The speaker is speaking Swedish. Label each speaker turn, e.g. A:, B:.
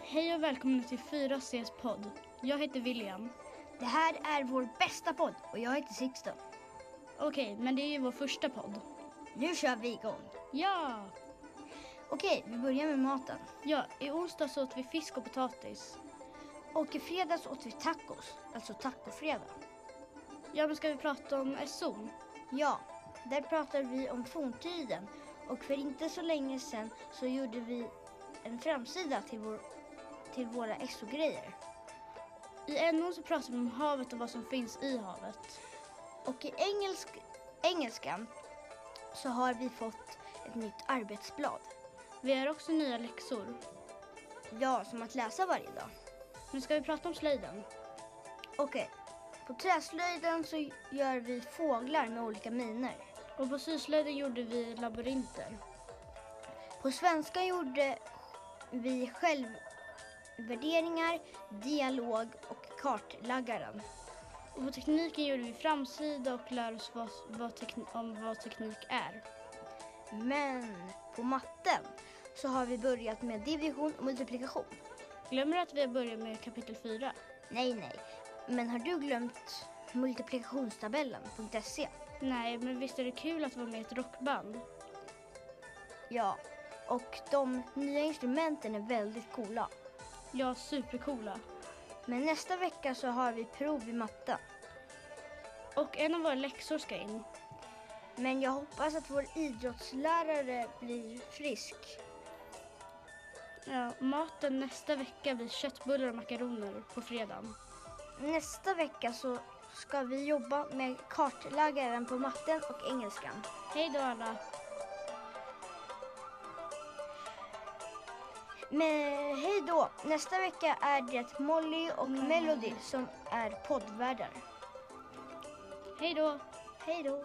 A: Hej och välkomna till 4Cs podd. Jag heter William.
B: Det här är vår bästa podd och jag heter Sixten.
A: Okej, men det är ju vår första podd.
B: Nu kör vi igång.
A: Ja!
B: Okej, vi börjar med maten.
A: Ja, i onsdags åt vi fisk och potatis.
B: Och i fredags åt vi tacos, alltså tacofredag.
A: Ja, men ska vi prata om Erzon?
B: Ja, där pratar vi om forntiden och för inte så länge sedan så gjorde vi en framsida till, vår, till våra exogrejer.
A: I NO så pratar vi om havet och vad som finns i havet.
B: Och i engelsk, engelskan så har vi fått ett nytt arbetsblad.
A: Vi har också nya läxor.
B: Ja, som att läsa varje dag.
A: Men ska vi prata om slöjden?
B: Okej, på träslöjden så gör vi fåglar med olika miner.
A: Och på syslöjden gjorde vi labyrinter.
B: På svenska gjorde vi självvärderingar, dialog och kartlaggaren.
A: Och på tekniken gjorde vi framsida och lär oss vad, vad tekn- om vad teknik är.
B: Men på matten så har vi börjat med division och multiplikation.
A: Glömmer du att vi har börjat med kapitel 4?
B: Nej, nej. Men har du glömt multiplikationstabellen.se?
A: Nej, men visst är det kul att vara med i ett rockband?
B: Ja, och de nya instrumenten är väldigt coola.
A: Ja, supercoola.
B: Men nästa vecka så har vi prov i matten.
A: Och en av våra läxor ska in.
B: Men jag hoppas att vår idrottslärare blir frisk.
A: Ja, maten nästa vecka blir köttbullar och makaroner på fredagen.
B: Nästa vecka så ska vi jobba med kartläggaren på matten och engelskan.
A: Hej då alla!
B: Men hej då! Nästa vecka är det Molly och Melody som är poddvärdar.
A: Hej då!
B: Hej då!